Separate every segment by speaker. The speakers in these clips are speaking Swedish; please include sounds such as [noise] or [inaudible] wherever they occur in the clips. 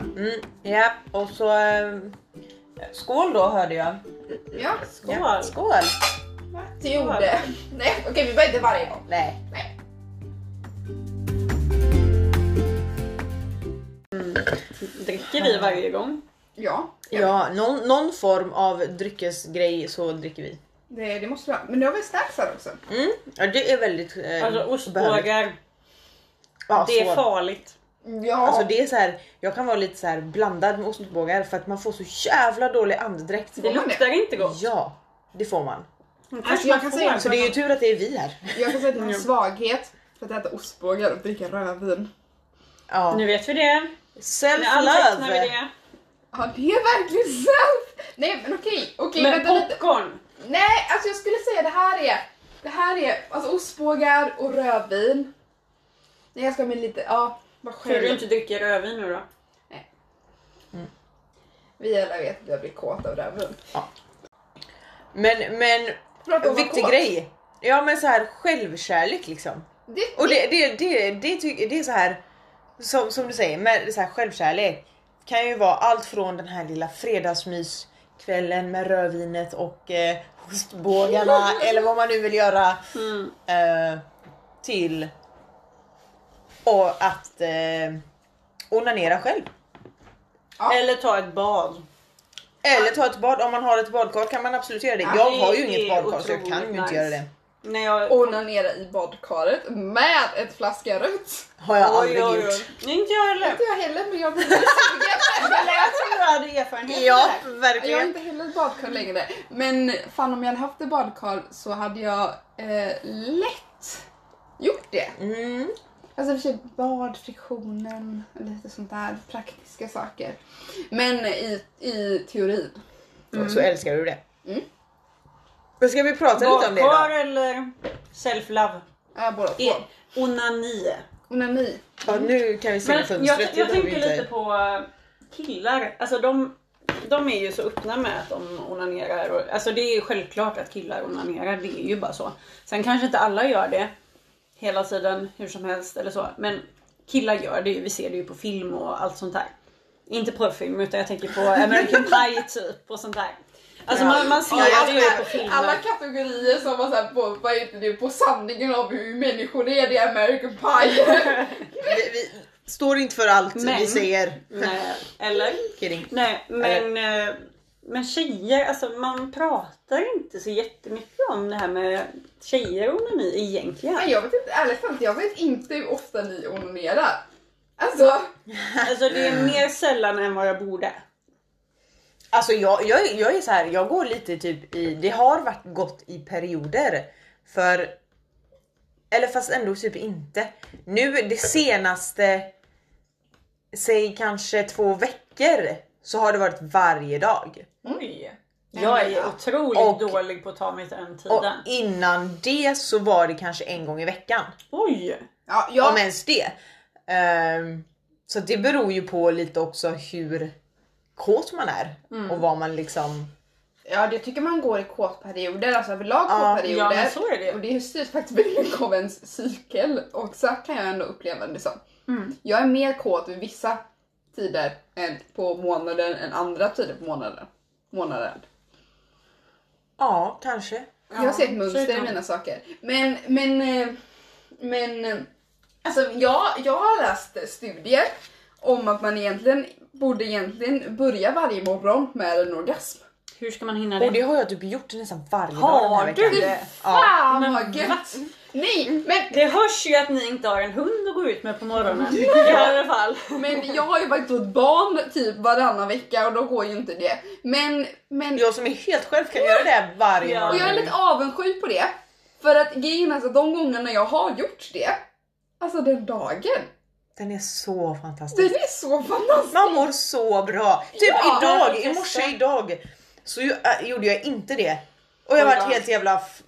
Speaker 1: Mm, ja, och så... Eh, skål då hörde jag.
Speaker 2: Ja,
Speaker 1: Skål! skål.
Speaker 2: till gjorde. Nej okej vi börjar inte varje gång.
Speaker 1: Nej.
Speaker 2: Nej.
Speaker 3: Dricker vi varje gång?
Speaker 2: Ja,
Speaker 1: Ja, någon, någon form av dryckesgrej så dricker vi.
Speaker 2: det, det måste vara. Men nu har vi snacks här också.
Speaker 1: Mm. Ja, det är väldigt eh,
Speaker 3: Alltså
Speaker 1: behövligt.
Speaker 3: ostbågar,
Speaker 1: Ja,
Speaker 3: det
Speaker 1: svår.
Speaker 3: är farligt.
Speaker 2: Ja,
Speaker 1: Alltså det är så här, jag kan vara lite så här blandad med ostbågar för att man får så jävla dålig andedräkt.
Speaker 3: Det
Speaker 2: man det?
Speaker 3: luktar inte gott.
Speaker 1: Ja, det får man.
Speaker 3: Kanske
Speaker 2: jag
Speaker 3: man
Speaker 2: kan
Speaker 3: får.
Speaker 2: säga också-
Speaker 1: Så det är ju tur att det är vi här.
Speaker 2: jag kan säga att det är en
Speaker 3: Ja.
Speaker 2: svaghet för att äta ostbågar och dricka rödvin.
Speaker 1: Ja.
Speaker 3: Nu vet vi det. Nu antecknar vi
Speaker 1: Self-love!
Speaker 3: det.
Speaker 2: Ja det är verkligen sant! Nej men okej, okej
Speaker 3: Men
Speaker 2: vänta lite.
Speaker 3: popcorn!
Speaker 2: Nej alltså jag skulle säga det här är, det här är alltså ostbågar och rödvin. Nej jag ska ha med lite, ja vad
Speaker 3: Tror du
Speaker 2: skönt.
Speaker 3: inte dricker rödvin nu då?
Speaker 2: Vi alla vet att jag blir kåt av rödvin.
Speaker 1: Men, men
Speaker 2: Prata om att
Speaker 1: viktig
Speaker 2: vara kåt.
Speaker 1: grej. Ja men så här självkärlek liksom.
Speaker 2: Det,
Speaker 1: Och det, det, det, det, ty- det är så här som, som du säger, med så här självkärlek kan ju vara allt från den här lilla fredagsmyskvällen med rödvinet och eh, ostbågarna
Speaker 3: [laughs]
Speaker 1: eller vad man nu vill göra
Speaker 3: Mm.
Speaker 1: eh, till och att eh, onanera själv.
Speaker 2: Ja.
Speaker 3: Eller ta ett bad.
Speaker 1: Eller ta ett bad, om man har ett badkar kan man absolut göra det.
Speaker 2: Ja,
Speaker 1: Jag
Speaker 3: det
Speaker 1: har ju
Speaker 3: är
Speaker 1: inget badkar så jag
Speaker 3: otroligt
Speaker 1: kan ju inte
Speaker 3: nice.
Speaker 1: göra det.
Speaker 3: När jag...
Speaker 2: onanera i badkaret med ett flaska rött.
Speaker 1: Har jag
Speaker 3: Oj,
Speaker 1: aldrig
Speaker 3: oj, oj.
Speaker 1: gjort.
Speaker 3: Nej, Inte jag heller.
Speaker 2: Inte jag heller men jag blir sugen.
Speaker 3: Jag trodde du hade erfarenhet
Speaker 1: Ja,
Speaker 2: Jag har
Speaker 1: verkligen.
Speaker 2: inte heller ett badkar längre. Men fan om jag hade haft ett badkar så hade jag eh, lätt gjort det.
Speaker 1: Mm.
Speaker 2: Alltså i och för sig bad, friktionen, lite sånt där praktiska saker. Men i, i teorin.
Speaker 1: Så älskar du det.
Speaker 2: Mm.
Speaker 1: Men ska vi prata lite om det
Speaker 3: Badkar
Speaker 1: då?
Speaker 3: eller self-love?
Speaker 2: Ja, båda två.
Speaker 3: E- onani.
Speaker 2: Onani.
Speaker 1: Ja, nu kan vi
Speaker 3: Men
Speaker 1: stänga
Speaker 3: jag,
Speaker 1: fönstret.
Speaker 3: jag, jag
Speaker 1: det behöver vi typ-
Speaker 3: tänker
Speaker 1: inte.
Speaker 3: lite på eh, killar. Alltså de, de är ju så öppna med att de onanerar. Och, alltså det är ju självklart att killar onanerar, det är ju bara så. Sen kanske inte alla gör det hela tiden, hur som helst eller så. Men killar gör det ju, vi ser det ju på film och allt sånt där. Inte på film utan jag tänker på American Pie typ och sånt där. Alltså
Speaker 1: Ja.
Speaker 3: man, man ser
Speaker 2: Ja,
Speaker 3: det ju på film.
Speaker 2: alla kategorier som var såhär på, vad heter det, på sanningen av hur människor är, det är American Pie.
Speaker 3: [laughs]
Speaker 1: Vi, vi står inte för allt vi
Speaker 3: Men-
Speaker 1: säger.
Speaker 3: Nej, eller?
Speaker 1: Kidding.
Speaker 3: Nej, men, eh, men tjejer, alltså man pratar inte så jättemycket om det här med tjejer och onani egentligen.
Speaker 2: Nej jag vet inte, ärligt talat jag vet inte hur ofta ni onanerar. Alltså,
Speaker 3: Alltså det är mer sällan än vad jag borde.
Speaker 1: Alltså jag, jag, jag är så här, jag går lite typ i, det har varit gott i perioder. För, eller fast ändå typ inte. Nu det senaste, säg kanske två veckor, så har det varit varje dag.
Speaker 3: Oj! Jag är ju
Speaker 2: Ja.
Speaker 3: otroligt
Speaker 1: Och-
Speaker 3: dålig på att ta mig till den
Speaker 1: Och
Speaker 3: tiden.
Speaker 1: innan det så var det kanske en gång i veckan.
Speaker 3: Oj!
Speaker 2: ja, jag,
Speaker 1: Om ens det. Ehm, så det beror ju på lite också hur kåt man är och vad man liksom...
Speaker 2: ja det tycker man går i kåtperioder, alltså överlag
Speaker 1: Ja,
Speaker 3: Ja
Speaker 2: kåtperioder.
Speaker 3: men så är det
Speaker 2: Och
Speaker 3: ju.
Speaker 2: det styrs faktiskt väldigt mycket av ens cykel och så kan jag ändå uppleva det som.
Speaker 3: Mm.
Speaker 2: Jag är mer kåt vid vissa tider än på månaden än andra tider på månaden. månaden.
Speaker 1: Ja, kanske.
Speaker 2: jag ser ett
Speaker 3: så
Speaker 2: mönster i
Speaker 3: kan-
Speaker 2: mina saker. Men, men, eh, men eh, alltså jag, jag har läst studier om att man egentligen borde egentligen börja varje morgon med en orgasm.
Speaker 3: Hur ska man hinna
Speaker 1: Och
Speaker 3: det?
Speaker 1: det har jag typ gjort nästan varje
Speaker 3: Har
Speaker 1: dag den här
Speaker 3: du?
Speaker 1: veckan.
Speaker 2: Fy
Speaker 1: Ja.
Speaker 2: fan
Speaker 3: Men
Speaker 2: vad gött!
Speaker 3: va?
Speaker 2: Nej men
Speaker 3: Det hörs ju att ni inte har en hund att gå ut med på [laughs] morgonen. I alla fall.
Speaker 2: Men jag har ju varit åt barn typ varannan vecka och då går ju inte det. Men, men
Speaker 1: Jag som är helt själv kan göra det varje
Speaker 3: Ja.
Speaker 2: och jag är
Speaker 1: morgon.
Speaker 2: lite avundsjuk på det. För att grejen är så att de gångerna jag har gjort det, alltså den dagen,
Speaker 1: Den är så
Speaker 2: den
Speaker 1: fantastisk.
Speaker 2: är så fantastisk.
Speaker 1: Man mår så bra. Typ
Speaker 2: Ja,
Speaker 3: jag
Speaker 1: idag,
Speaker 3: vill
Speaker 1: i morse
Speaker 3: testa.
Speaker 1: idag så ju, äh, gjorde jag inte det. Och jag
Speaker 3: Oj
Speaker 1: varit
Speaker 3: då.
Speaker 1: helt jävla... F-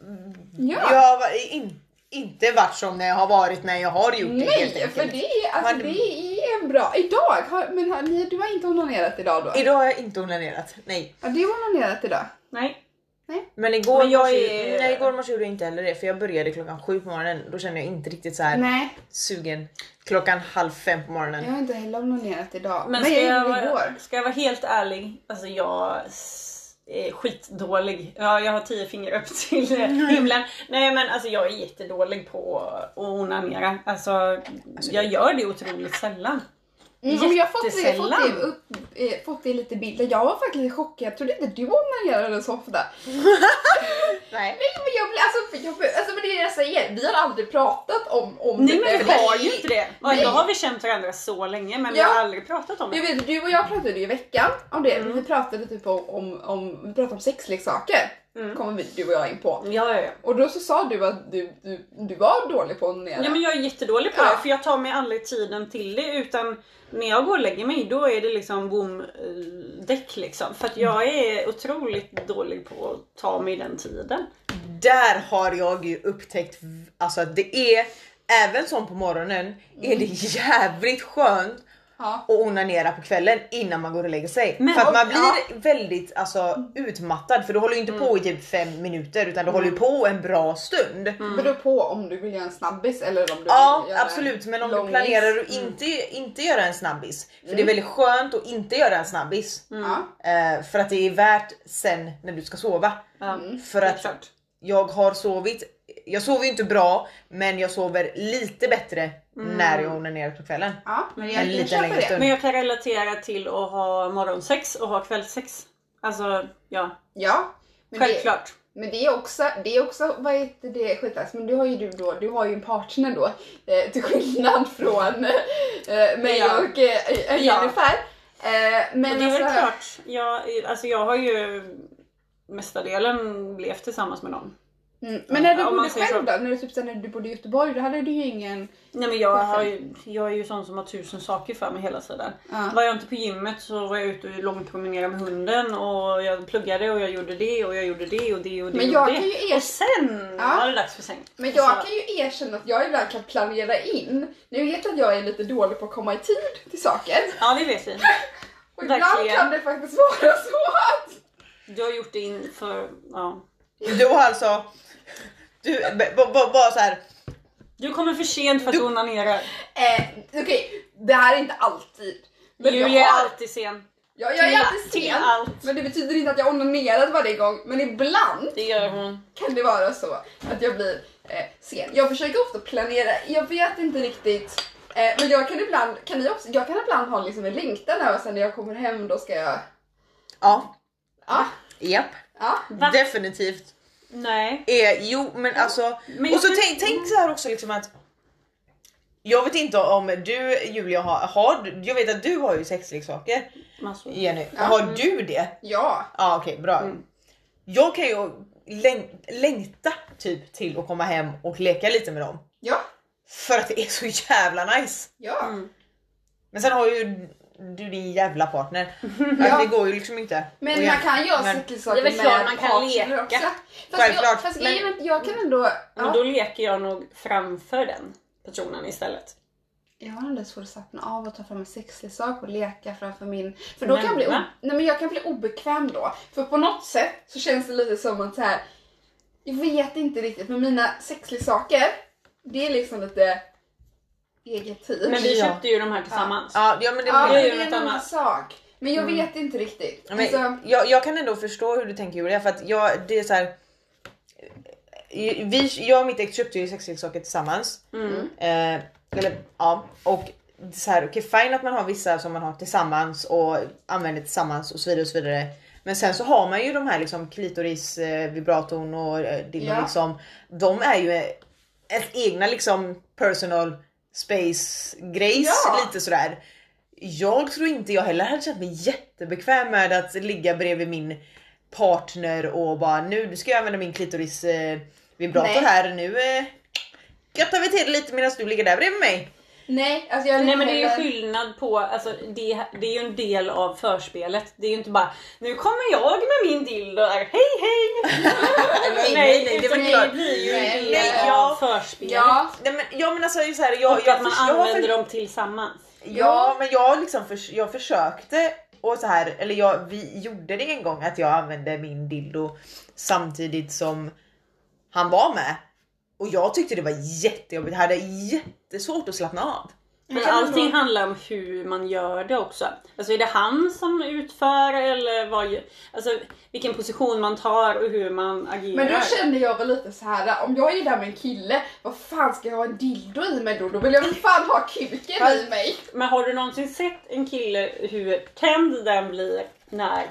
Speaker 2: Ja.
Speaker 1: Jag har in, inte varit som när jag har varit när jag har gjort det helt
Speaker 2: Mm. Nej,
Speaker 1: enkelt.
Speaker 2: för det är, alltså,
Speaker 1: Man-
Speaker 2: det är en bra... Idag, har, men har, ni, du har inte onanerat idag då?
Speaker 1: Idag har jag inte onanerat. Nej.
Speaker 2: Har du onanerat idag?
Speaker 3: Nej.
Speaker 2: Nej.
Speaker 1: Men igår,
Speaker 3: Men jag
Speaker 1: morse,
Speaker 3: är-
Speaker 1: nej, igår morse gjorde jag inte heller det för jag började klockan sju på morgonen. Då kände jag inte riktigt så här
Speaker 2: Nej,
Speaker 1: sugen. Klockan halv fem på morgonen.
Speaker 2: jag har inte heller onanerat idag.
Speaker 3: Men
Speaker 2: Men,
Speaker 3: ska
Speaker 2: jag
Speaker 3: jag,
Speaker 2: gjorde det
Speaker 3: vara,
Speaker 2: igår.
Speaker 3: ska jag vara helt ärlig, alltså jag s- är skitdålig. Ja, jag har tio fingrar upp [laughs] till eh, himlen. Nej men alltså jag är jättedålig på att onanera. Alltså, jag gör det otroligt sällan.
Speaker 2: Mm, men jag har fått det, fått,
Speaker 3: Jättesällan.
Speaker 2: det upp, eh, fått det i lite bilder. Jag var faktiskt chockad. Jag trodde inte du onanerade så [laughs] ofta.
Speaker 1: Nej.
Speaker 2: Nej, men jag blir, alltså, för jag, blir- alltså men det är det jag säger. Vi har aldrig pratat om, om
Speaker 3: Nej
Speaker 2: det.
Speaker 3: men vi har ju inte det. Och
Speaker 2: Nej.
Speaker 3: ändå har vi känt varandra så länge men vi
Speaker 2: Ja.
Speaker 3: har aldrig pratat om
Speaker 2: Jag
Speaker 3: det.
Speaker 2: vet, du och jag pratade ju i veckan om det.
Speaker 1: Mm.
Speaker 2: Vi pratade typ om, om, om, vi pratade om sexleksaker.
Speaker 3: Mm.
Speaker 2: Kommer vi, du och jag in på.
Speaker 3: Ja, ja, ja.
Speaker 2: Och då så sa du att du, du, du var dålig på att onanera.
Speaker 3: Ja men jag är jättedålig på
Speaker 2: Ja.
Speaker 3: det för jag tar mig aldrig tiden till det utan när jag går och lägger mig då är det liksom boom eh, däck liksom. För att jag är otroligt dålig på att ta mig den tiden.
Speaker 1: Där har jag ju upptäckt v- alltså att det är, även som på morgonen, är
Speaker 3: Mm.
Speaker 1: det jävligt skönt
Speaker 2: Ja.
Speaker 1: att onanera på kvällen innan man går och lägger sig.
Speaker 3: Men-
Speaker 1: för att man
Speaker 2: och-
Speaker 1: blir väldigt alltså, utmattad för du håller ju inte
Speaker 3: Mm.
Speaker 1: på i typ fem minuter utan du håller ju på en bra stund.
Speaker 2: Det beror på om du vill göra en snabbis eller om du
Speaker 1: Mm. Ja
Speaker 2: vill göra
Speaker 1: absolut men om
Speaker 2: en
Speaker 1: du
Speaker 2: långis. Mm.
Speaker 1: planerar att inte, inte göra en snabbis. För det är väldigt skönt att inte göra en snabbis.
Speaker 2: Ja.
Speaker 1: Eh, för att det är värt sen när du ska sova.
Speaker 3: Ja,
Speaker 2: Mm.
Speaker 1: För
Speaker 3: det är
Speaker 1: att
Speaker 3: klart.
Speaker 1: jag har sovit, jag sover ju inte bra men jag sover lite bättre
Speaker 2: Mm.
Speaker 1: när jag onanerar på kvällen.
Speaker 2: Ja, men jag,
Speaker 1: Mm. En
Speaker 2: jag
Speaker 1: liten
Speaker 2: köper
Speaker 1: längre
Speaker 2: det.
Speaker 1: stund.
Speaker 3: Men jag kan relatera till att ha morgonsex och ha kvällssex. Alltså ja,
Speaker 2: Ja. Men det,
Speaker 3: självklart.
Speaker 2: men det är också, det är också, vad heter det, skitass, men du har ju du då, du har ju en partner då, eh, till skillnad från eh, mig
Speaker 3: Ja.
Speaker 2: och eh, eh,
Speaker 3: Ja.
Speaker 2: Jennifer. Eh, men
Speaker 3: Och det är väl
Speaker 2: alltså,
Speaker 3: klart. Jag, alltså jag har ju mestadelen levt tillsammans med någon.
Speaker 2: Mm, men när du
Speaker 3: Ja, om man
Speaker 2: bodde
Speaker 3: säger
Speaker 2: själv då, när du, typ, så här, när du bodde i Göteborg, då hade du ju ingen...
Speaker 3: Nej men jag, har ju, jag är ju sån som har tusen saker för mig hela tiden.
Speaker 2: Ja.
Speaker 3: Var jag inte på gymmet så var jag ute och långpromenerade med hunden och jag pluggade och jag gjorde det och jag gjorde det och det och det
Speaker 2: Men
Speaker 3: och
Speaker 2: jag
Speaker 3: det.
Speaker 2: kan ju erkänna-
Speaker 3: Och sen
Speaker 2: Ja.
Speaker 3: var det dags för säng.
Speaker 2: Men
Speaker 3: Så-
Speaker 2: jag kan ju erkänna att jag ibland kan planera in. Ni vet att jag är lite dålig på att komma i tid till saker.
Speaker 3: Ja det vet vi.
Speaker 2: Och ibland
Speaker 3: Verkligen.
Speaker 2: kan det faktiskt vara [laughs] så att...
Speaker 3: Du har gjort det inför... Ja.
Speaker 1: Du har alltså, du b- b- b- bara så här.
Speaker 3: Du kommer för sent för att du onanerar.
Speaker 2: Eh, Okej, det här är inte alltid. Men jag
Speaker 3: Julia är
Speaker 2: har-
Speaker 3: alltid sen.
Speaker 2: Ja, jag är
Speaker 3: till-
Speaker 2: alltid
Speaker 3: till
Speaker 2: sen.
Speaker 3: allt.
Speaker 2: Men det betyder inte att jag onanerat varje gång. Men ibland
Speaker 3: Det gör hon.
Speaker 2: kan det vara så att jag blir eh, sen. Jag försöker ofta planera, jag vet inte riktigt. Eh, men jag kan ibland, kan ni också, jag kan ibland ha liksom en längtan över sen när jag kommer hem då ska jag...
Speaker 1: Ja,
Speaker 2: Ja,
Speaker 1: japp.
Speaker 2: ja.
Speaker 3: Va?
Speaker 1: Definitivt.
Speaker 3: Nej.
Speaker 1: Är, jo men alltså,
Speaker 3: Men
Speaker 1: och så
Speaker 3: jag-
Speaker 1: tänk,
Speaker 2: Mm.
Speaker 1: tänk så här också liksom att jag vet inte om du Julia har, har du- jag vet att du har ju sexleksaker
Speaker 3: Massor.
Speaker 1: Jenny,
Speaker 2: Ja. Mm.
Speaker 1: har du det?
Speaker 2: Ja.
Speaker 1: Ja okej bra. Jag kan ju läng- längta typ till att komma hem och leka lite med dem.
Speaker 2: Ja.
Speaker 1: För att det är så jävla nice.
Speaker 2: Ja.
Speaker 3: Mm.
Speaker 1: Men sen har ju du din jävla
Speaker 2: [laughs]
Speaker 1: partner.
Speaker 2: Ja.
Speaker 1: Alltså, det går ju liksom inte.
Speaker 2: Men
Speaker 1: Och jag-
Speaker 2: man kan ju ha
Speaker 1: men-
Speaker 2: sexleksaker
Speaker 3: Det är väl klart man kan
Speaker 2: partner
Speaker 3: leka.
Speaker 2: också. Fast
Speaker 1: Självklart,
Speaker 2: Jag, fast
Speaker 1: men-
Speaker 2: grejen är att jag kan ändå...
Speaker 3: Men
Speaker 2: Ja.
Speaker 3: då leker jag nog framför den personen istället.
Speaker 2: Jag har ändå svårt att slappna av och ta fram en sexleksak och leka framför min... För då kan jag,
Speaker 3: Men,
Speaker 2: bli o...
Speaker 3: va?
Speaker 2: Nej, men jag kan bli obekväm då. För på något sätt så känns det lite som att så här. Jag vet inte riktigt, men mina sexleksaker, det är liksom lite eget tid.
Speaker 3: Men vi
Speaker 1: Ja.
Speaker 3: köpte ju de här tillsammans.
Speaker 1: Ja, ja men det
Speaker 2: Ja, men
Speaker 3: det är
Speaker 2: det
Speaker 3: ju
Speaker 2: är en
Speaker 3: något
Speaker 2: annan
Speaker 3: annat. Mm.
Speaker 2: sak. Men jag vet inte riktigt.
Speaker 1: Men
Speaker 2: Alltså,
Speaker 1: jag, jag kan ändå förstå hur du tänker Julia för att jag, det är så här. Vi, jag och mitt ex köpte ju sexleksaker tillsammans.
Speaker 3: Mm.
Speaker 1: Eh, eller, ja, och det är så här, okej fine att man har vissa som man har tillsammans och använder tillsammans och så vidare och så vidare. Men sen så har man ju de här liksom klitoris, eh, vibratorn och eh, dildo
Speaker 2: Ja.
Speaker 1: liksom. De är ju eh, ett egna liksom personal space grejs
Speaker 2: Ja.
Speaker 1: lite sådär. Jag tror inte jag heller hade känt mig jättebekväm med att ligga bredvid min partner och bara nu du ska jag använda min klitoris eh, vibrator
Speaker 2: Nej.
Speaker 1: här nu. Eh, göttar vi till det lite medan du ligger där bredvid mig.
Speaker 2: nej, alltså jag är
Speaker 3: Nej
Speaker 2: inte
Speaker 3: men det är ju
Speaker 2: heller-
Speaker 3: skillnad på, alltså, det, det är ju en del av förspelet. Det är ju inte bara nu kommer jag med min dildo här, hej hej!
Speaker 1: nej, nej, det är
Speaker 3: utan
Speaker 1: väl klart.
Speaker 3: det blir ju en del
Speaker 2: Nej,
Speaker 1: ja.
Speaker 3: av förspelet.
Speaker 2: Ja,
Speaker 1: Nej, men, ja men alltså så här, jag,
Speaker 3: Och
Speaker 1: jag,
Speaker 3: att man
Speaker 1: förs- jag,
Speaker 3: använder
Speaker 1: för-
Speaker 3: dem tillsammans.
Speaker 1: Ja men jag liksom förs- jag försökte och så här, eller jag, vi gjorde det en gång att jag använde min dildo samtidigt som han var med. Och jag tyckte det var jättejobbigt, jag hade jättesvårt att slappna av.
Speaker 3: Men allting handlar om hur man gör det också. Alltså är det han som utför eller vad, ju- alltså, vilken position man tar och hur man agerar.
Speaker 2: Men då kände jag väl lite så här. om jag är där med en kille, vad fan ska jag ha en dildo i mig då? Då vill jag väl fan ha kuken i mig.
Speaker 3: Men har du någonsin sett en kille hur tänd den blir när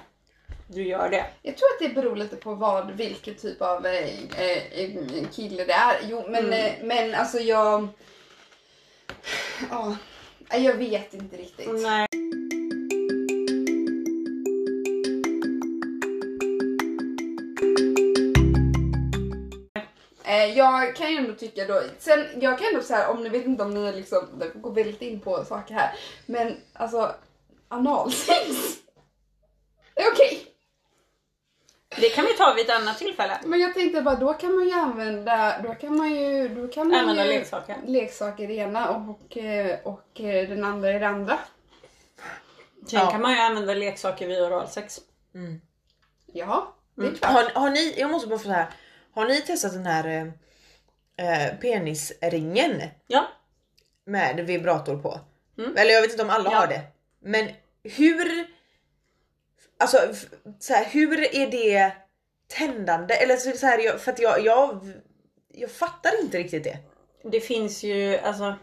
Speaker 3: du gör det?
Speaker 2: Jag tror att det beror lite på vad, vilken typ av eh, eh, eh, kille det är. Jo, men,
Speaker 3: Mm.
Speaker 2: eh, men alltså jag... Ja, jag vet inte riktigt.
Speaker 3: Nej.
Speaker 2: Eh, jag kan ju ändå tycka då, sen jag kan ändå så här, om ni vet inte om ni är liksom, det går väldigt in på saker här, men alltså analsex. [laughs] Det är okej.
Speaker 3: Det kan vi ta vid ett annat tillfälle.
Speaker 2: Men jag tänkte bara då kan man ju använda, då kan man ju, då kan man
Speaker 3: Använda
Speaker 2: ju
Speaker 3: leksaker.
Speaker 2: leksaker i det ena och, och, eh, och eh, den andra i det andra.
Speaker 3: Sen
Speaker 1: Ja.
Speaker 3: kan man ju använda leksaker vid oralsex.
Speaker 2: Ja, det är klart.
Speaker 1: Mm. Har, har ni, jag måste bara få så här. Har ni testat den här eh, eh, penisringen
Speaker 3: Ja.
Speaker 1: med vibrator på?
Speaker 3: Mm.
Speaker 1: Eller jag vet inte om alla
Speaker 3: Ja.
Speaker 1: har det. Men hur... Alltså f- så här, hur är det tändande? Eller så så här, jag, för att jag, jag, jag fattar inte riktigt det.
Speaker 3: Det finns ju, alltså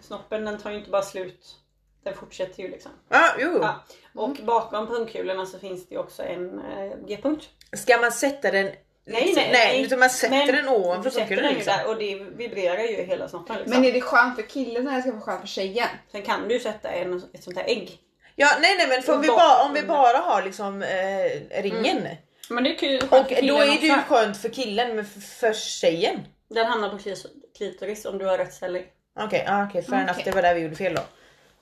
Speaker 3: snoppen den tar ju inte bara slut. Den fortsätter ju liksom.
Speaker 1: Ja, Ah, jo.
Speaker 3: Ja. Mm. Och bakom pungkulorna så finns det ju också en eh, G-punkt.
Speaker 1: Ska man sätta den... liksom-
Speaker 3: Nej, nej,
Speaker 1: nej.
Speaker 3: nej.
Speaker 1: Utan man sätter
Speaker 3: Men
Speaker 1: den
Speaker 3: Du
Speaker 1: ovanför
Speaker 3: sätter
Speaker 1: pungkulorna
Speaker 3: den ju
Speaker 1: liksom.
Speaker 3: där och det vibrerar ju hela snoppen. Liksom.
Speaker 2: Men är det skönt för killen eller ska det vara skönt för tjejen?
Speaker 3: Sen kan du ju sätta en, ett sånt här ägg.
Speaker 1: Ja, nej nej men för om, vi
Speaker 3: Bakom
Speaker 1: bara, om vi
Speaker 3: pungkulorna.
Speaker 1: bara har liksom eh, ringen.
Speaker 3: Men det är kul
Speaker 1: Och då är det ju skönt för killen men för, för tjejen.
Speaker 3: Den hamnar på klis- klitoris om du har rätt ställning.
Speaker 1: Okej, okay, ah, okay, fair enough.
Speaker 2: Okej.
Speaker 1: Det var där vi gjorde fel då.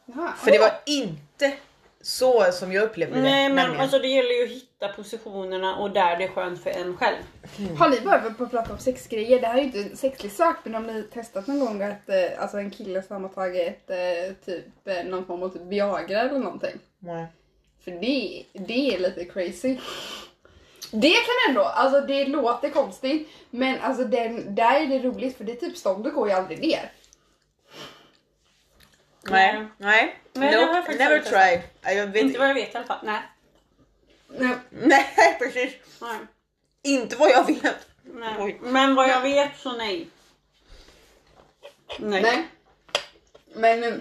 Speaker 2: Jaha.
Speaker 1: För det var inte så som jag upplevde det.
Speaker 3: Nej men
Speaker 1: nämligen.
Speaker 3: alltså det gäller ju att hitta positionerna och där det är skönt för en själv.
Speaker 1: Mm.
Speaker 2: Har ni bara på att prata om sexgrejer? Det här är ju inte en sexlig sak men om ni testat någon gång att eh, alltså en kille som har tagit eh, typ eh, någon form av typ Viagra eller någonting.
Speaker 1: Nej.
Speaker 2: För det, det är lite crazy. Det kan ändå, alltså det låter konstigt men alltså den, där är det roligt för det är typ ståndet går ju aldrig ner.
Speaker 1: Nej. Nej.
Speaker 3: Nej, det har jag
Speaker 1: Nope.
Speaker 3: faktiskt
Speaker 1: Never
Speaker 3: aldrig testat.
Speaker 1: tried. Ja, Jag vet
Speaker 3: Eh, Inte vad jag vet i alla fall. Nej.
Speaker 2: Nej,
Speaker 1: [laughs] Nej precis.
Speaker 3: Nej.
Speaker 1: Inte vad jag vet.
Speaker 3: Nej.
Speaker 1: Oj.
Speaker 3: Men vad jag vet så nej. Nej.
Speaker 2: nej. Men eh,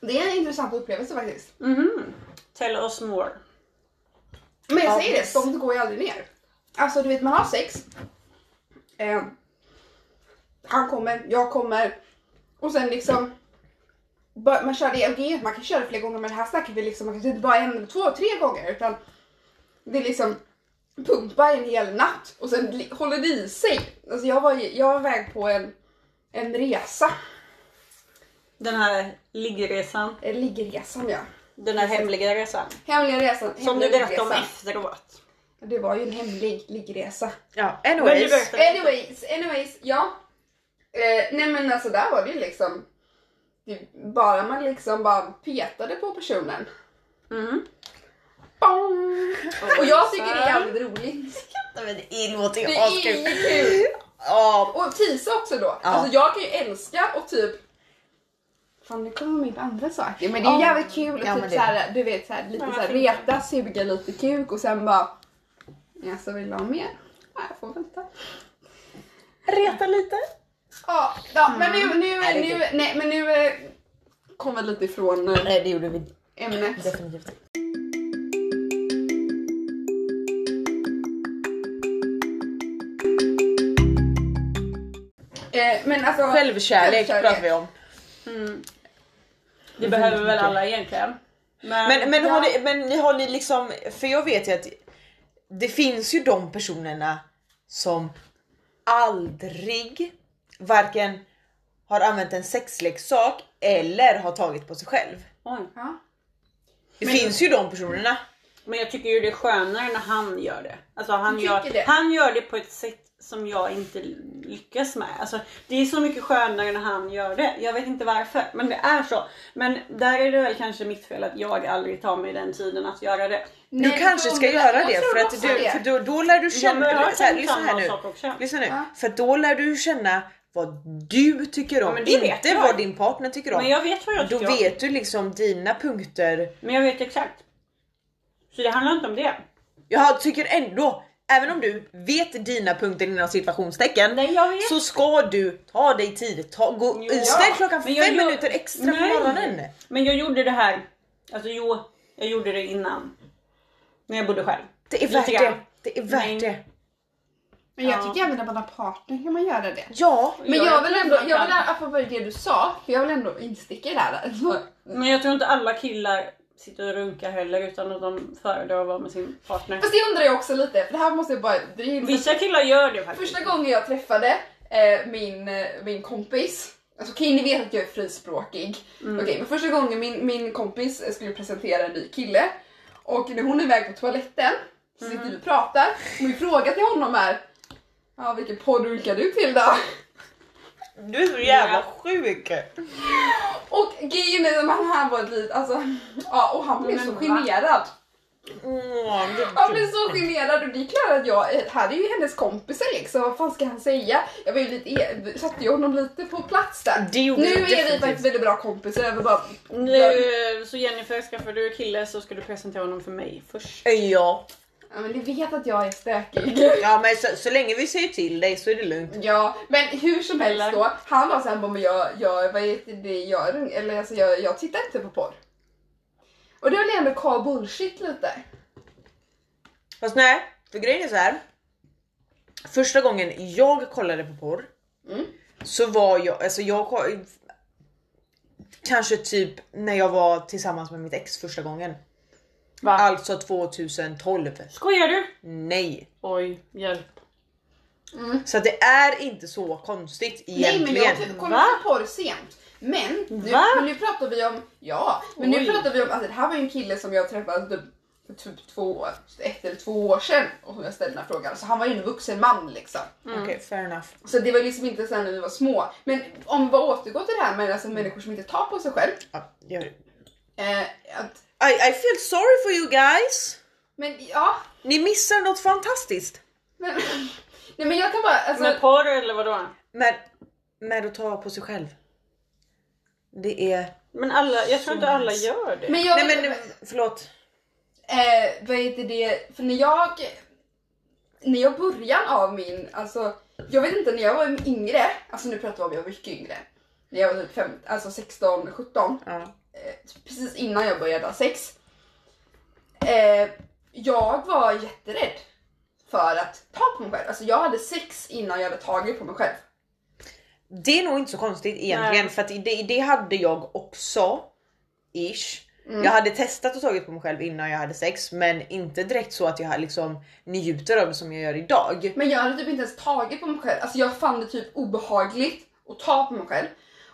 Speaker 2: det är en intressant upplevelse faktiskt.
Speaker 3: Mhm. Tell us more.
Speaker 2: Men jag
Speaker 1: Ja,
Speaker 2: säger det,
Speaker 1: precis.
Speaker 2: ståndet går ju aldrig ner. Alltså du vet man har sex. Eh, han kommer, jag kommer. Och sen liksom. bara- Man kör det, okej, man kan köra fler gånger men här snackar vi liksom, man kanske inte bara en eller två, tre gånger utan det är liksom pumpa en hel natt och sen li- håller det i sig. Alltså jag var, ju- jag var väg på en, en resa,
Speaker 3: Den här liggresan.
Speaker 2: en liggresan ja.
Speaker 3: Den här hemliga resan.
Speaker 2: Hemliga resan.
Speaker 3: Som du
Speaker 2: hemlig
Speaker 3: berättade om
Speaker 2: resa.
Speaker 3: efteråt.
Speaker 2: Det var ju en hemlig liggresa.
Speaker 1: Ja,
Speaker 3: Men du
Speaker 1: anyways.
Speaker 3: berättar lite.
Speaker 2: Anyways, anyways, ja. Eh, nej men alltså där var det ju liksom. Det, bara man liksom bara petade på personen.
Speaker 3: Mhm.
Speaker 2: Bong! Och jag tycker det är jävligt roligt.
Speaker 1: Nej, men det är- låter ju
Speaker 2: Det är ju
Speaker 1: askul.
Speaker 2: kul.
Speaker 1: Ja.
Speaker 2: Och tisa också då. Alltså jag kan ju älska och typ Fan nu kommer min på andra saker. Men det är ju
Speaker 1: Ja.
Speaker 2: jävligt kul att
Speaker 1: Ja, men
Speaker 2: typ
Speaker 1: det-
Speaker 2: såhär, du vet såhär, lite
Speaker 3: Ja,
Speaker 2: såhär
Speaker 3: fint.
Speaker 2: reta, suga lite kuk och sen bara Jaså vill du ha mer? Nej jag får vänta.
Speaker 1: Reta lite.
Speaker 2: Ja, ja men nu, nu,
Speaker 1: Nej, det är
Speaker 2: nu, nej, men nu eh, kom vi lite ifrån eh,
Speaker 1: Nej det gjorde vi
Speaker 2: ämnet.
Speaker 1: definitivt.
Speaker 2: Eh, men alltså,
Speaker 1: Självkärlek pratar vi om.
Speaker 3: Mm. Det behöver väl alla egentligen. Men,
Speaker 1: Men, men, har
Speaker 2: Ja.
Speaker 1: ni, men ni har ni liksom, för jag vet ju att det finns ju de personerna som aldrig varken har använt en sexleksak eller har tagit på sig själv.
Speaker 3: Oj.
Speaker 2: Ja.
Speaker 1: Det
Speaker 2: Men-
Speaker 1: finns ju de personerna.
Speaker 3: Men jag tycker ju det är skönare när han gör det. Alltså han,
Speaker 2: Du
Speaker 3: gör
Speaker 2: tycker det?
Speaker 3: han gör det på ett sätt som jag inte lyckas med. Alltså, det är så mycket skönare när han gör det. Jag vet inte varför, men det är så. Men där är det väl kanske mitt fel att jag aldrig tar mig den tiden att göra det.
Speaker 1: Du kanske ska göra det för, att
Speaker 2: du,
Speaker 1: du, för då, då lär du
Speaker 3: Jag
Speaker 1: känna...
Speaker 3: har
Speaker 1: så här,
Speaker 3: tänkt
Speaker 1: lyssna här
Speaker 3: samma
Speaker 1: nu.
Speaker 3: sak också.
Speaker 1: Lyssna nu.
Speaker 2: Ja.
Speaker 1: För då lär du känna vad du tycker om,
Speaker 3: men det vet
Speaker 1: inte
Speaker 3: jag.
Speaker 1: vad din partner tycker om.
Speaker 3: Men jag vet vad jag
Speaker 1: då
Speaker 3: tycker om.
Speaker 1: vet du liksom dina punkter.
Speaker 3: Men jag vet exakt. Så det handlar inte om det.
Speaker 1: Jag tycker ändå, även om du vet dina punkter inom situationstecken
Speaker 3: Nej, jag vet.
Speaker 1: så ska du ta dig tid. Ta, gå,
Speaker 3: Jo.
Speaker 1: ställ klockan
Speaker 3: Men
Speaker 1: fem
Speaker 3: jag gör-
Speaker 1: minuter extra på
Speaker 3: Nej.
Speaker 1: morgonen.
Speaker 3: Men jag gjorde det här. Alltså jo, jag gjorde det innan. När jag bodde själv.
Speaker 1: Det är
Speaker 3: Lite
Speaker 1: värt det.
Speaker 3: grann.
Speaker 1: Det är värt
Speaker 3: Nej.
Speaker 1: det.
Speaker 2: Men jag
Speaker 3: Ja.
Speaker 2: tycker även när man har partner kan man göra det.
Speaker 1: Ja.
Speaker 2: Men jag, vill ändå,
Speaker 3: tror
Speaker 2: jag
Speaker 3: man
Speaker 2: vill,
Speaker 3: kan.
Speaker 2: apropå det du sa, för jag vill ändå insticka där. Alltså,
Speaker 3: Men jag tror inte alla killar sitter och runkar heller utan att de föredrar att vara med sin partner.
Speaker 2: Fast det undrar jag också lite, för det här måste jag bara... Det är ju
Speaker 3: Vissa killar gör det faktiskt.
Speaker 2: första gången jag träffade eh, min, eh, min kompis, alltså okej ni vet att jag är frispråkig.
Speaker 3: Mm.
Speaker 2: Okej, men första gången min, min kompis eh, skulle presentera en ny kille och när hon är iväg på toaletten så sitter
Speaker 3: Mm.
Speaker 2: vi och pratar och min fråga till honom är Ja, vilken podd runkar du till då?
Speaker 1: Du är så
Speaker 3: jävla
Speaker 1: sjuk.
Speaker 2: Och grejen är att han var ett litet, alltså, ja och han blev
Speaker 3: Men
Speaker 2: så
Speaker 3: va?
Speaker 2: generad.
Speaker 1: Åh, det
Speaker 2: Han blev så generad och det är klart att jag, här är ju hennes kompisar liksom, vad fan ska han säga? Jag var ju lite, e- satte ju honom lite på plats där.
Speaker 1: Det gjorde
Speaker 2: nu
Speaker 1: du
Speaker 2: är vi
Speaker 1: definitivt.
Speaker 2: faktiskt väldigt bra kompisar, jag vill bara...
Speaker 3: Nu, så Jennifer, skaffar du kille så ska du presentera honom för mig först.
Speaker 1: Ja,
Speaker 2: Ja men ni vet att jag är stökig. [laughs]
Speaker 1: ja men så, så länge vi säger till dig så är det lugnt.
Speaker 2: Ja, men hur som helst
Speaker 3: Eller?
Speaker 2: då, han var såhär, men jag, jag, vad heter det, jag, rung- eller alltså jag, jag tittar inte på porr. Och det var ändå call bullshit lite.
Speaker 1: Fast nej, för grejen är så här. Första gången jag kollade på porr
Speaker 2: Mm.
Speaker 1: så var jag, alltså jag ko- kanske typ när jag var tillsammans med mitt ex första gången.
Speaker 3: Va?
Speaker 1: Alltså 2012.
Speaker 3: Skojar du?
Speaker 1: Nej.
Speaker 3: Oj, hjälp.
Speaker 1: Så att det är inte så konstigt
Speaker 2: Nej
Speaker 1: egentligen.
Speaker 2: men jag typ kom
Speaker 3: Va?
Speaker 2: på porr sent. Men nu,
Speaker 3: Va?
Speaker 2: men nu pratar vi om, ja, men
Speaker 3: Oj.
Speaker 2: nu pratar vi om, alltså det här var ju en kille som jag träffade typ för typ två, år- ett eller två år sedan och som jag ställde den här frågan. Så han var ju en vuxen man liksom.
Speaker 1: Okej, fair enough.
Speaker 2: Så det var liksom inte sen när vi var små. Men om vi återgår till det här med alltså människor som inte tar på sig själv.
Speaker 1: Ja, jag...
Speaker 2: Eh, att,
Speaker 1: I, I feel sorry for you guys.
Speaker 2: men ja,
Speaker 1: Ni missar något fantastiskt.
Speaker 2: men, [laughs] nej men jag kan bara, alltså,
Speaker 3: Med porr eller vadå?
Speaker 1: Med, med att ta på sig själv. Det är...
Speaker 3: Men alla, jag tror inte alla gör det.
Speaker 2: men jag,
Speaker 1: Nej men förlåt.
Speaker 2: Eh, vad heter det? För när jag... När jag början av min... Alltså, jag vet inte, när jag var yngre. Alltså nu pratar vi om jag var mycket yngre. När jag var typ fem, alltså 16, 17.
Speaker 1: Ja.
Speaker 2: Eh, precis innan jag började ha sex. Eh, jag var jätterädd för att ta på mig själv. Alltså jag hade sex innan jag hade tagit på mig själv.
Speaker 1: Det är nog inte så konstigt egentligen
Speaker 3: Nej.
Speaker 1: för att det, det hade jag också. Ish.
Speaker 2: Mm.
Speaker 1: Jag hade testat och tagit på mig själv innan jag hade sex men inte direkt så att jag liksom njuter av det som jag gör idag.
Speaker 2: Men jag hade typ inte ens tagit på mig själv. Alltså jag fann det typ obehagligt att ta på mig själv.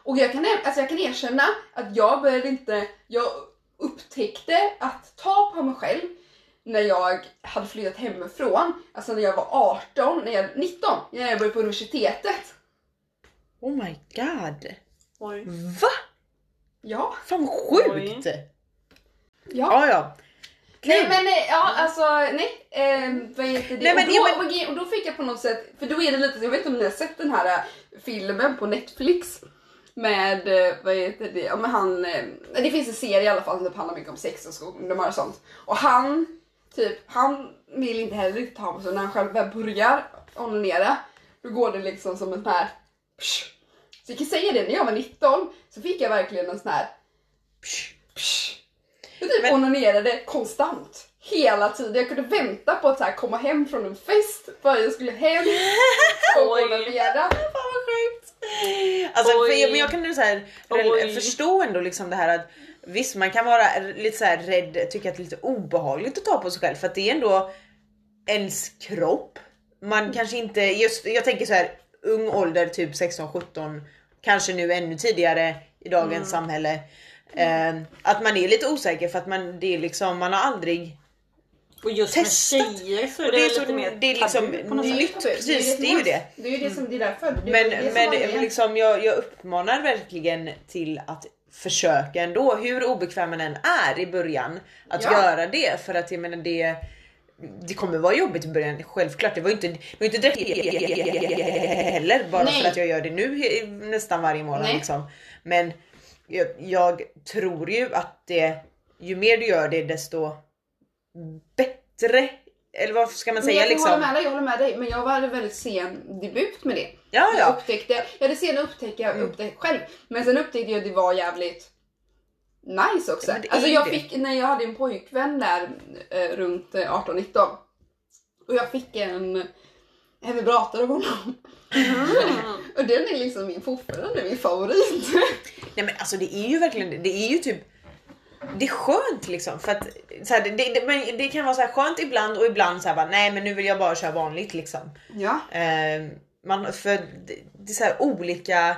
Speaker 2: Och jag kan, alltså jag kan erkänna att jag började inte, jag upptäckte att ta på mig själv när jag hade flyttat hemifrån. Alltså när jag var 18, när jag, 19, när jag började på universitetet.
Speaker 1: Oh my god.
Speaker 3: Oj.
Speaker 1: Va?
Speaker 2: Ja,
Speaker 1: Fan vad sjukt!
Speaker 2: ja.
Speaker 1: Ja ja.
Speaker 2: Nej
Speaker 1: Kul.
Speaker 2: men eh, ja alltså nej, eh, vad heter det?
Speaker 1: Nej, men-
Speaker 2: och, då,
Speaker 1: ja,
Speaker 2: och då fick jag på något sätt, för då är det lite, jag vet inte om ni har sett den här eh, filmen på Netflix med, eh, vad heter det, ja men han, eh, det finns en serie i alla fall som typ handlar mycket om sex och skolungdomar och sånt. Och han, typ, han vill inte heller riktigt ha på sig när han själv väl börjar onanera, då går det liksom som en sån här psh. Så jag kan säga det, när jag var 19 så fick jag verkligen en sån här
Speaker 1: Psh.
Speaker 2: Psh. Jag typ
Speaker 1: Men-
Speaker 2: onanerade konstant. Hela tiden. Jag kunde vänta på att så här komma hem från en fest för att jag skulle hem och
Speaker 3: Oj.
Speaker 2: onanera.
Speaker 1: Fan vad sjukt! Alltså,
Speaker 3: Oj.
Speaker 1: för, men jag kan nu så här, rel-
Speaker 3: Oj.
Speaker 1: förstå ändå liksom det här att visst man kan vara r- lite så här rädd, tycka att det är lite obehagligt att ta på sig själv för att det är ändå ens kropp.
Speaker 3: Mm.
Speaker 1: Man kanske inte, just, jag tänker så här ung ålder, typ 16-17, kanske nu ännu tidigare i dagens
Speaker 3: Mm.
Speaker 1: Ehm, samhälle. Eh, att man är lite osäker för att man, det är liksom, man har aldrig
Speaker 3: Och just
Speaker 1: testat.
Speaker 3: med tjejer så är
Speaker 1: Och
Speaker 3: det,
Speaker 1: det är så-
Speaker 3: lite mer
Speaker 1: det är liksom-
Speaker 3: tabu på något
Speaker 2: Alltså, Det är
Speaker 1: Nytt,
Speaker 2: ju
Speaker 3: sätt.
Speaker 2: tabu.
Speaker 1: precis, det är ju det.
Speaker 2: Det är ju det som, det är därför. Det är ju det
Speaker 1: Men,
Speaker 2: som
Speaker 1: men
Speaker 2: var grejen.
Speaker 1: liksom, jag, jag uppmanar verkligen till att försöka ändå, hur obekväm man än är i början, att
Speaker 2: Ja.
Speaker 1: göra det. För att jag menar det, det kommer vara jobbigt i början, självklart. Det var ju inte, det var ju inte direkt heller bara
Speaker 2: Nej.
Speaker 1: för att jag gör det nu he- nästan varje morgon.
Speaker 2: Nej.
Speaker 1: Liksom. Men jag, jag tror ju att det, ju mer du gör det desto bättre, eller vad ska man
Speaker 2: Men
Speaker 1: säga?
Speaker 2: jag håller
Speaker 1: Liksom?
Speaker 2: med dig, jag håller med dig. Men jag var väldigt sen debut med det.
Speaker 1: Ja, Mm.
Speaker 2: Jag
Speaker 1: ja.
Speaker 2: upptäckte, jag hade sen upptäckte jag upptäckte själv. Men sen upptäckte jag att det var jävligt nice också.
Speaker 1: Men det är
Speaker 2: Alltså
Speaker 1: ju
Speaker 2: jag
Speaker 1: det.
Speaker 2: fick, när jag hade en pojkvän där eh, runt eh, 18-19. Och jag fick en, en vibrator av honom.
Speaker 1: Mm.
Speaker 2: [laughs] och den är liksom min, fortfarande min favorit.
Speaker 1: Nej men alltså det är ju verkligen det. Det är ju typ det är skönt liksom för att så här, det, det, men det kan vara så här skönt ibland och ibland så här bara nej men nu vill jag bara köra vanligt liksom.
Speaker 2: ja.
Speaker 1: Eh, man, för det, det är så här olika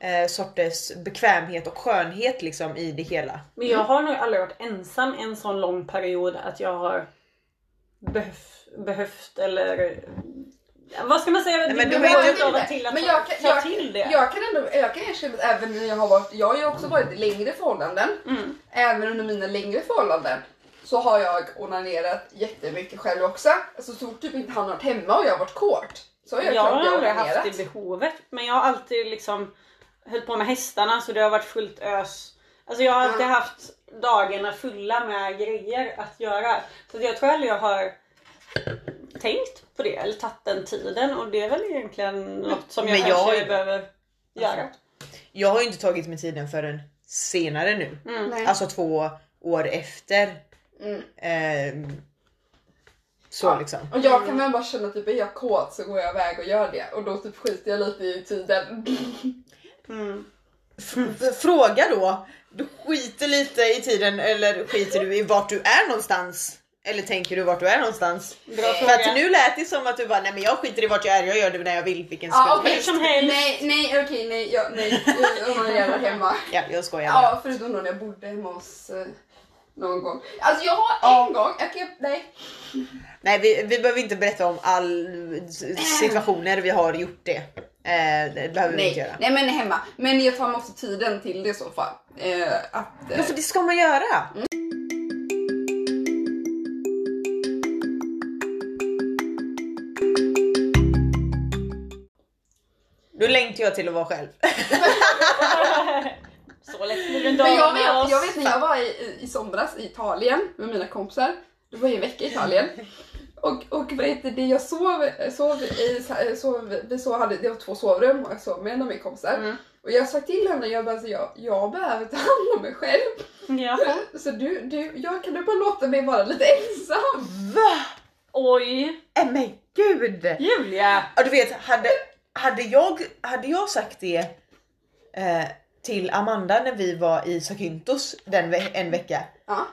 Speaker 1: eh, sorters bekvämhet och skönhet liksom i det hela.
Speaker 3: Men jag har nog aldrig varit ensam en sån lång period att jag har behövt, behövt eller vad ska man säga?
Speaker 1: men
Speaker 3: Det
Speaker 1: du har
Speaker 3: var
Speaker 1: ju-
Speaker 3: inte av att till att
Speaker 2: men jag,
Speaker 3: ta,
Speaker 2: kan- jag,
Speaker 3: till det.
Speaker 2: jag kan ändå jag kan erkänna att även när jag har varit, jag har ju också varit i längre förhållanden.
Speaker 3: Mm.
Speaker 2: Även under mina längre förhållanden så har jag onanerat jättemycket själv också. Alltså så fort typ inte han har varit hemma och jag har varit kåt så har jag
Speaker 3: Jag
Speaker 2: klart
Speaker 3: har
Speaker 2: jag
Speaker 3: aldrig haft
Speaker 2: onanerat.
Speaker 3: det behovet men jag har alltid liksom höll på med hästarna så det har varit fullt ös. Alltså jag har alltid
Speaker 2: Mm.
Speaker 3: haft dagarna fulla med grejer att göra. Så att jag tror aldrig jag har tänkt på det eller tagit den tiden och det är väl egentligen något som jag,
Speaker 1: Men jag har
Speaker 3: kanske
Speaker 1: ju-
Speaker 3: behöver göra.
Speaker 1: Jag har ju inte tagit mig tiden förrän senare nu.
Speaker 3: Mm.
Speaker 2: Nej.
Speaker 1: Alltså två år efter.
Speaker 2: Mm.
Speaker 1: ehm, så
Speaker 2: Ja.
Speaker 1: liksom.
Speaker 2: Och jag
Speaker 3: Mm.
Speaker 2: kan väl bara känna att typ, är jag kåt så går jag iväg och gör det och då typ skiter jag lite i
Speaker 3: [laughs]
Speaker 2: tiden.
Speaker 3: Mm.
Speaker 1: F- Fråga då. Du skiter lite i tiden eller skiter du i vart du är någonstans? Eller tänker du vart du är någonstans?
Speaker 3: Bra
Speaker 1: För
Speaker 3: fråga.
Speaker 1: att nu lät det som att du bara nej men jag skiter i vart jag är, jag gör det när jag vill vilken
Speaker 2: Ja,
Speaker 1: sekund
Speaker 2: Ah, okej.
Speaker 1: som helst.
Speaker 3: Som helst.
Speaker 2: Nej, nej, okej, nej, jag, nej, jag onanerar
Speaker 3: [laughs]
Speaker 2: hemma.
Speaker 1: Ja, jag skojar.
Speaker 2: Ja, förutom då när jag bodde hemma hos eh, någon gång. Alltså jag har en gång, jag kan,
Speaker 3: [laughs]
Speaker 2: nej.
Speaker 1: Nej vi, vi behöver inte berätta om all s- situationer vi har gjort det. Eh, det behöver vi
Speaker 2: Nej,
Speaker 1: inte göra.
Speaker 2: nej men hemma. Men jag tar mig också tiden till det i så fall. Eh, att, eh,
Speaker 1: Ja för det ska man göra. Mm. Nu längtar jag till att vara själv.
Speaker 3: Så lätt blir det inte
Speaker 2: men jag
Speaker 3: av med
Speaker 2: vet,
Speaker 3: oss.
Speaker 2: jag vet när jag var i, i, i somras i Italien med mina kompisar. Det var ju en vecka i Italien. Och, och vad heter det, jag sov, sov i, sov, vi sov, hade, det var två sovrum och jag sov med en av mina kompisar.
Speaker 3: Mm.
Speaker 2: Och jag sa till henne, jag bara, alltså, jag, jag behöver ta hand om mig själv.
Speaker 3: Ja.
Speaker 2: [laughs] Så du, du, jag, kan du bara låta mig vara lite ensam?
Speaker 1: Va?
Speaker 3: Oj,
Speaker 1: Nej men gud!
Speaker 3: Julia!
Speaker 1: Ja, du vet, hade, hade, jag, hade jag sagt det eh, till Amanda när vi var i Zakynthos den ve- en vecka.
Speaker 2: Ja.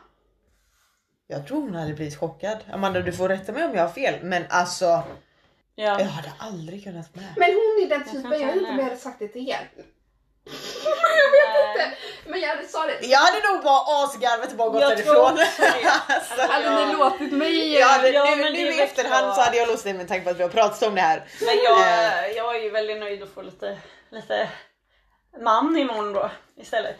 Speaker 1: Jag tror hon hade blivit chockad. Amanda du får rätta mig om jag har fel men alltså jag
Speaker 3: Ja.
Speaker 1: hade aldrig kunnat med.
Speaker 2: Men hon är den
Speaker 3: Jag
Speaker 2: typen,
Speaker 3: kan
Speaker 2: jag vet inte om
Speaker 3: känna.
Speaker 2: jag hade sagt det till [laughs] er. jag vet inte. Men jag hade sagt det.
Speaker 1: Jag hade nog bara asgarvat och bara gått
Speaker 3: Jag tror
Speaker 1: därifrån.
Speaker 3: också det.
Speaker 1: [laughs] alltså,
Speaker 2: Hade
Speaker 3: Ja.
Speaker 2: ni låtit mig?
Speaker 1: jag hade,
Speaker 3: Ja,
Speaker 1: nu
Speaker 3: men
Speaker 1: nu
Speaker 3: det är
Speaker 1: i
Speaker 3: väl
Speaker 1: efterhand
Speaker 3: klart.
Speaker 1: så hade jag låst det med tanke på att vi har pratat om det här.
Speaker 3: Men jag, jag är ju väldigt nöjd att få lite, lite man imorgon då istället.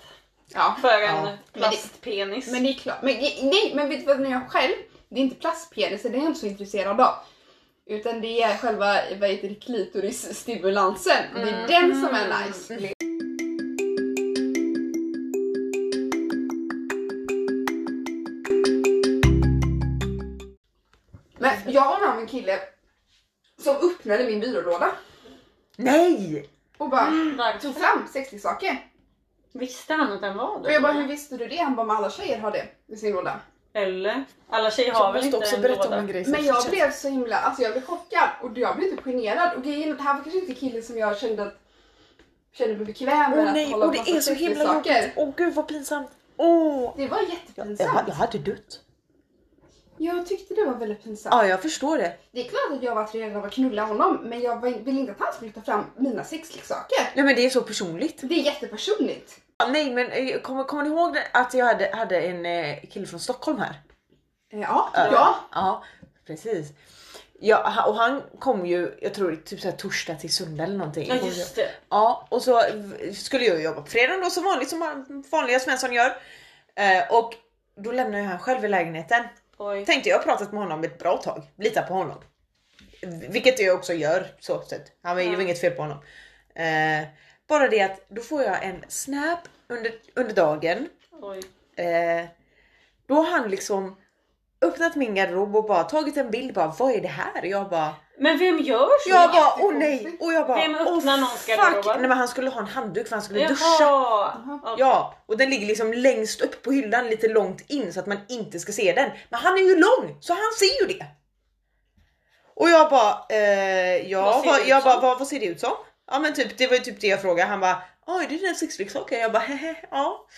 Speaker 2: Ja.
Speaker 3: För en
Speaker 1: Ja.
Speaker 3: plastpenis.
Speaker 2: Men det är klart. Men, nej, men vet du vad, när jag själv, det är inte plastpeniser, det är jag inte så intresserad av. Utan det är själva vad heter det, klitorisstimulansen. Det är den som är nice. Men jag har någon en kille som öppnade min byrålåda
Speaker 1: Nej!
Speaker 2: och bara
Speaker 3: Varför
Speaker 2: tog fram sexleksaker.
Speaker 3: visste han att den var
Speaker 2: Och jag bara,
Speaker 3: då?
Speaker 2: hur visste du det? Han bara, men alla tjejer har det i sin låda.
Speaker 3: Eller? Alla tjejer har väl inte en låda?
Speaker 1: grej
Speaker 2: Men jag blev så himla, alltså jag blev chockad och jag blev typ generad. Och grejen är att det här var kanske inte killen som jag kände att kände mig bekväm med
Speaker 1: Åh nej,
Speaker 2: att hålla
Speaker 1: och det är så himla jobbigt. Åh gud vad pinsamt. Åh!
Speaker 2: Det var
Speaker 1: Jag,
Speaker 2: jättepinsamt.
Speaker 1: jag hade dött.
Speaker 2: Jag tyckte det var väldigt pinsamt.
Speaker 1: Ja, jag förstår det.
Speaker 2: Det är klart att jag var redan av att knulla honom men jag var- ville inte att han skulle ta fram mina sexleksaker.
Speaker 1: Nej men det är så personligt.
Speaker 2: Det är jättepersonligt.
Speaker 1: Ja, Nej men eh, kommer, kommer ni ihåg det- att jag hade, hade en eh, kille från Stockholm här?
Speaker 2: Eh, Ja,
Speaker 1: över.
Speaker 2: ja.
Speaker 1: ja precis. Ja, ha- och han kom ju, jag tror typ så här torsdag till söndag eller någonting.
Speaker 3: Ja just det.
Speaker 1: Ja, och så v- skulle jag jobba på fredagen då som vanligt, som han- vanliga Svensson gör. Eh, och då lämnade jag han själv i lägenheten.
Speaker 3: Oj.
Speaker 1: Tänkte jag har pratat med honom ett bra tag, litar på honom. Vilket jag också gör så sett. Han var ju
Speaker 3: Ja.
Speaker 1: inget fel på honom. Eh, bara det att då får jag en snap under, under dagen.
Speaker 3: Oj.
Speaker 1: Eh, då har han liksom öppnat min garderob och bara tagit en bild bara vad är det här? Jag bara
Speaker 3: Men vem gör så?
Speaker 1: jag bara åh nej och jag bara
Speaker 3: Vem öppnar
Speaker 1: åh
Speaker 3: någons
Speaker 1: fuck.
Speaker 3: garderob?
Speaker 1: Nej men han skulle ha en handduk för han skulle duscha.
Speaker 3: Jaha! Ja.
Speaker 1: Ja och den ligger liksom längst upp på hyllan lite långt in så att man inte ska se den. Men han är ju lång så han ser ju det. Och jag bara eh, ja,
Speaker 3: Vad
Speaker 1: vad
Speaker 3: ser det
Speaker 1: vad,
Speaker 3: ut
Speaker 1: jag bara,
Speaker 3: som?
Speaker 1: vad, vad ser det ut som? Ja men typ det var ju typ det jag frågade. Han bara oj det är dina sexleksaker. Jag bara hehe ja. [laughs]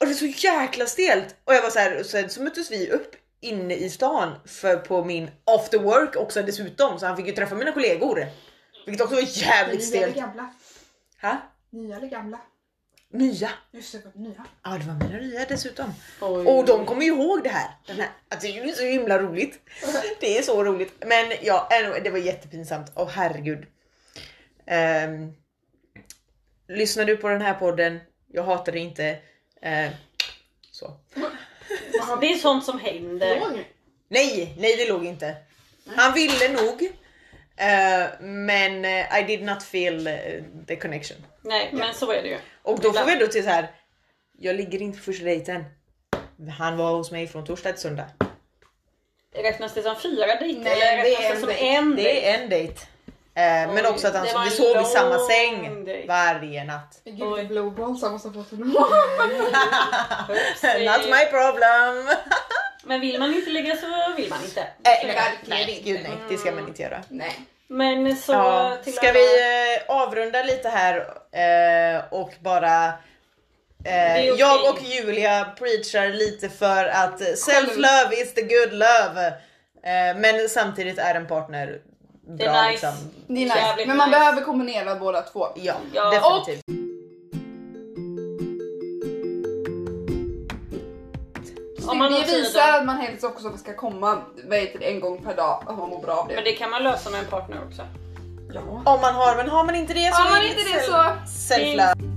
Speaker 1: Och det är så jäkla stelt. Och jag var så här, och sen så möttes vi upp inne i stan för på min after work också dessutom så han fick ju träffa mina kollegor. Vilket också var jävligt
Speaker 2: Nya eller
Speaker 1: stelt.
Speaker 2: gamla?
Speaker 1: Ha?
Speaker 2: Nya eller gamla?
Speaker 1: Nya.
Speaker 2: Just det, nya.
Speaker 1: Ja det var mina nya dessutom.
Speaker 3: Oj.
Speaker 1: Och de kommer ju ihåg det här. Den här. Alltså, det är ju så himla roligt. Det är så roligt. Men ja, anyway, det var jättepinsamt. Åh herregud. Ehm, lyssnar du på den här podden? Jag hatar dig inte. Ehm, så.
Speaker 2: Vad
Speaker 3: Det är sånt som händer.
Speaker 2: har
Speaker 1: Nej, nej det låg inte. Han ville nog. eh, men eh, I did not feel eh, the connection.
Speaker 3: Nej men så är det ju.
Speaker 1: Och då får
Speaker 3: Ibland.
Speaker 1: vi ändå till så här. Jag ligger inte på första dejten. Han var hos mig från torsdag till söndag.
Speaker 3: Räknas det som fyra dejter
Speaker 2: Nej,
Speaker 3: eller
Speaker 2: det är
Speaker 3: räknas det,
Speaker 2: en
Speaker 3: som
Speaker 2: dejt.
Speaker 3: en dejt?
Speaker 1: Det är en dejt. Eh, men
Speaker 3: Oj,
Speaker 1: också att han,
Speaker 3: det var
Speaker 1: vi
Speaker 3: en
Speaker 1: sov i samma
Speaker 3: lång
Speaker 1: säng
Speaker 3: dejt.
Speaker 1: varje natt.
Speaker 2: Gud,
Speaker 3: Oj.
Speaker 2: det blowballs har måste ha fått honom. [laughs]
Speaker 1: [laughs]
Speaker 3: Upsi.
Speaker 1: Not my
Speaker 3: [laughs]
Speaker 1: problem!
Speaker 3: Men vill man inte ligga så vill man inte.
Speaker 1: Eh, nej,
Speaker 2: verkligen
Speaker 1: nej,
Speaker 2: inte.
Speaker 1: gud, nej, det ska man inte göra.
Speaker 2: Nej.
Speaker 3: Men så
Speaker 1: Ja,
Speaker 3: till
Speaker 1: ska
Speaker 3: alla-
Speaker 1: vi eh, avrunda lite här eh, och bara eh,
Speaker 3: är okej.
Speaker 1: Jag och Julia preachar lite för att eh, self-love is the good love. Eh, men samtidigt är en partner bra.
Speaker 3: Det är nice.
Speaker 1: liksom.
Speaker 2: Det är
Speaker 3: nice.
Speaker 2: nice.
Speaker 3: Jävligt
Speaker 2: Men man
Speaker 3: nice.
Speaker 2: behöver kombinera båda två.
Speaker 1: Ja,
Speaker 3: Ja.
Speaker 1: definitivt.
Speaker 3: Om man har
Speaker 2: det
Speaker 3: tiden.
Speaker 2: visar att man helst också ska komma vad heter det, en gång per dag om man mår bra av det.
Speaker 3: Men det kan man lösa med en partner också.
Speaker 2: Ja.
Speaker 1: Om man har, men har man inte det så
Speaker 2: Har man
Speaker 1: är
Speaker 2: inte
Speaker 1: det
Speaker 2: det
Speaker 1: self-
Speaker 2: så...
Speaker 1: self-love.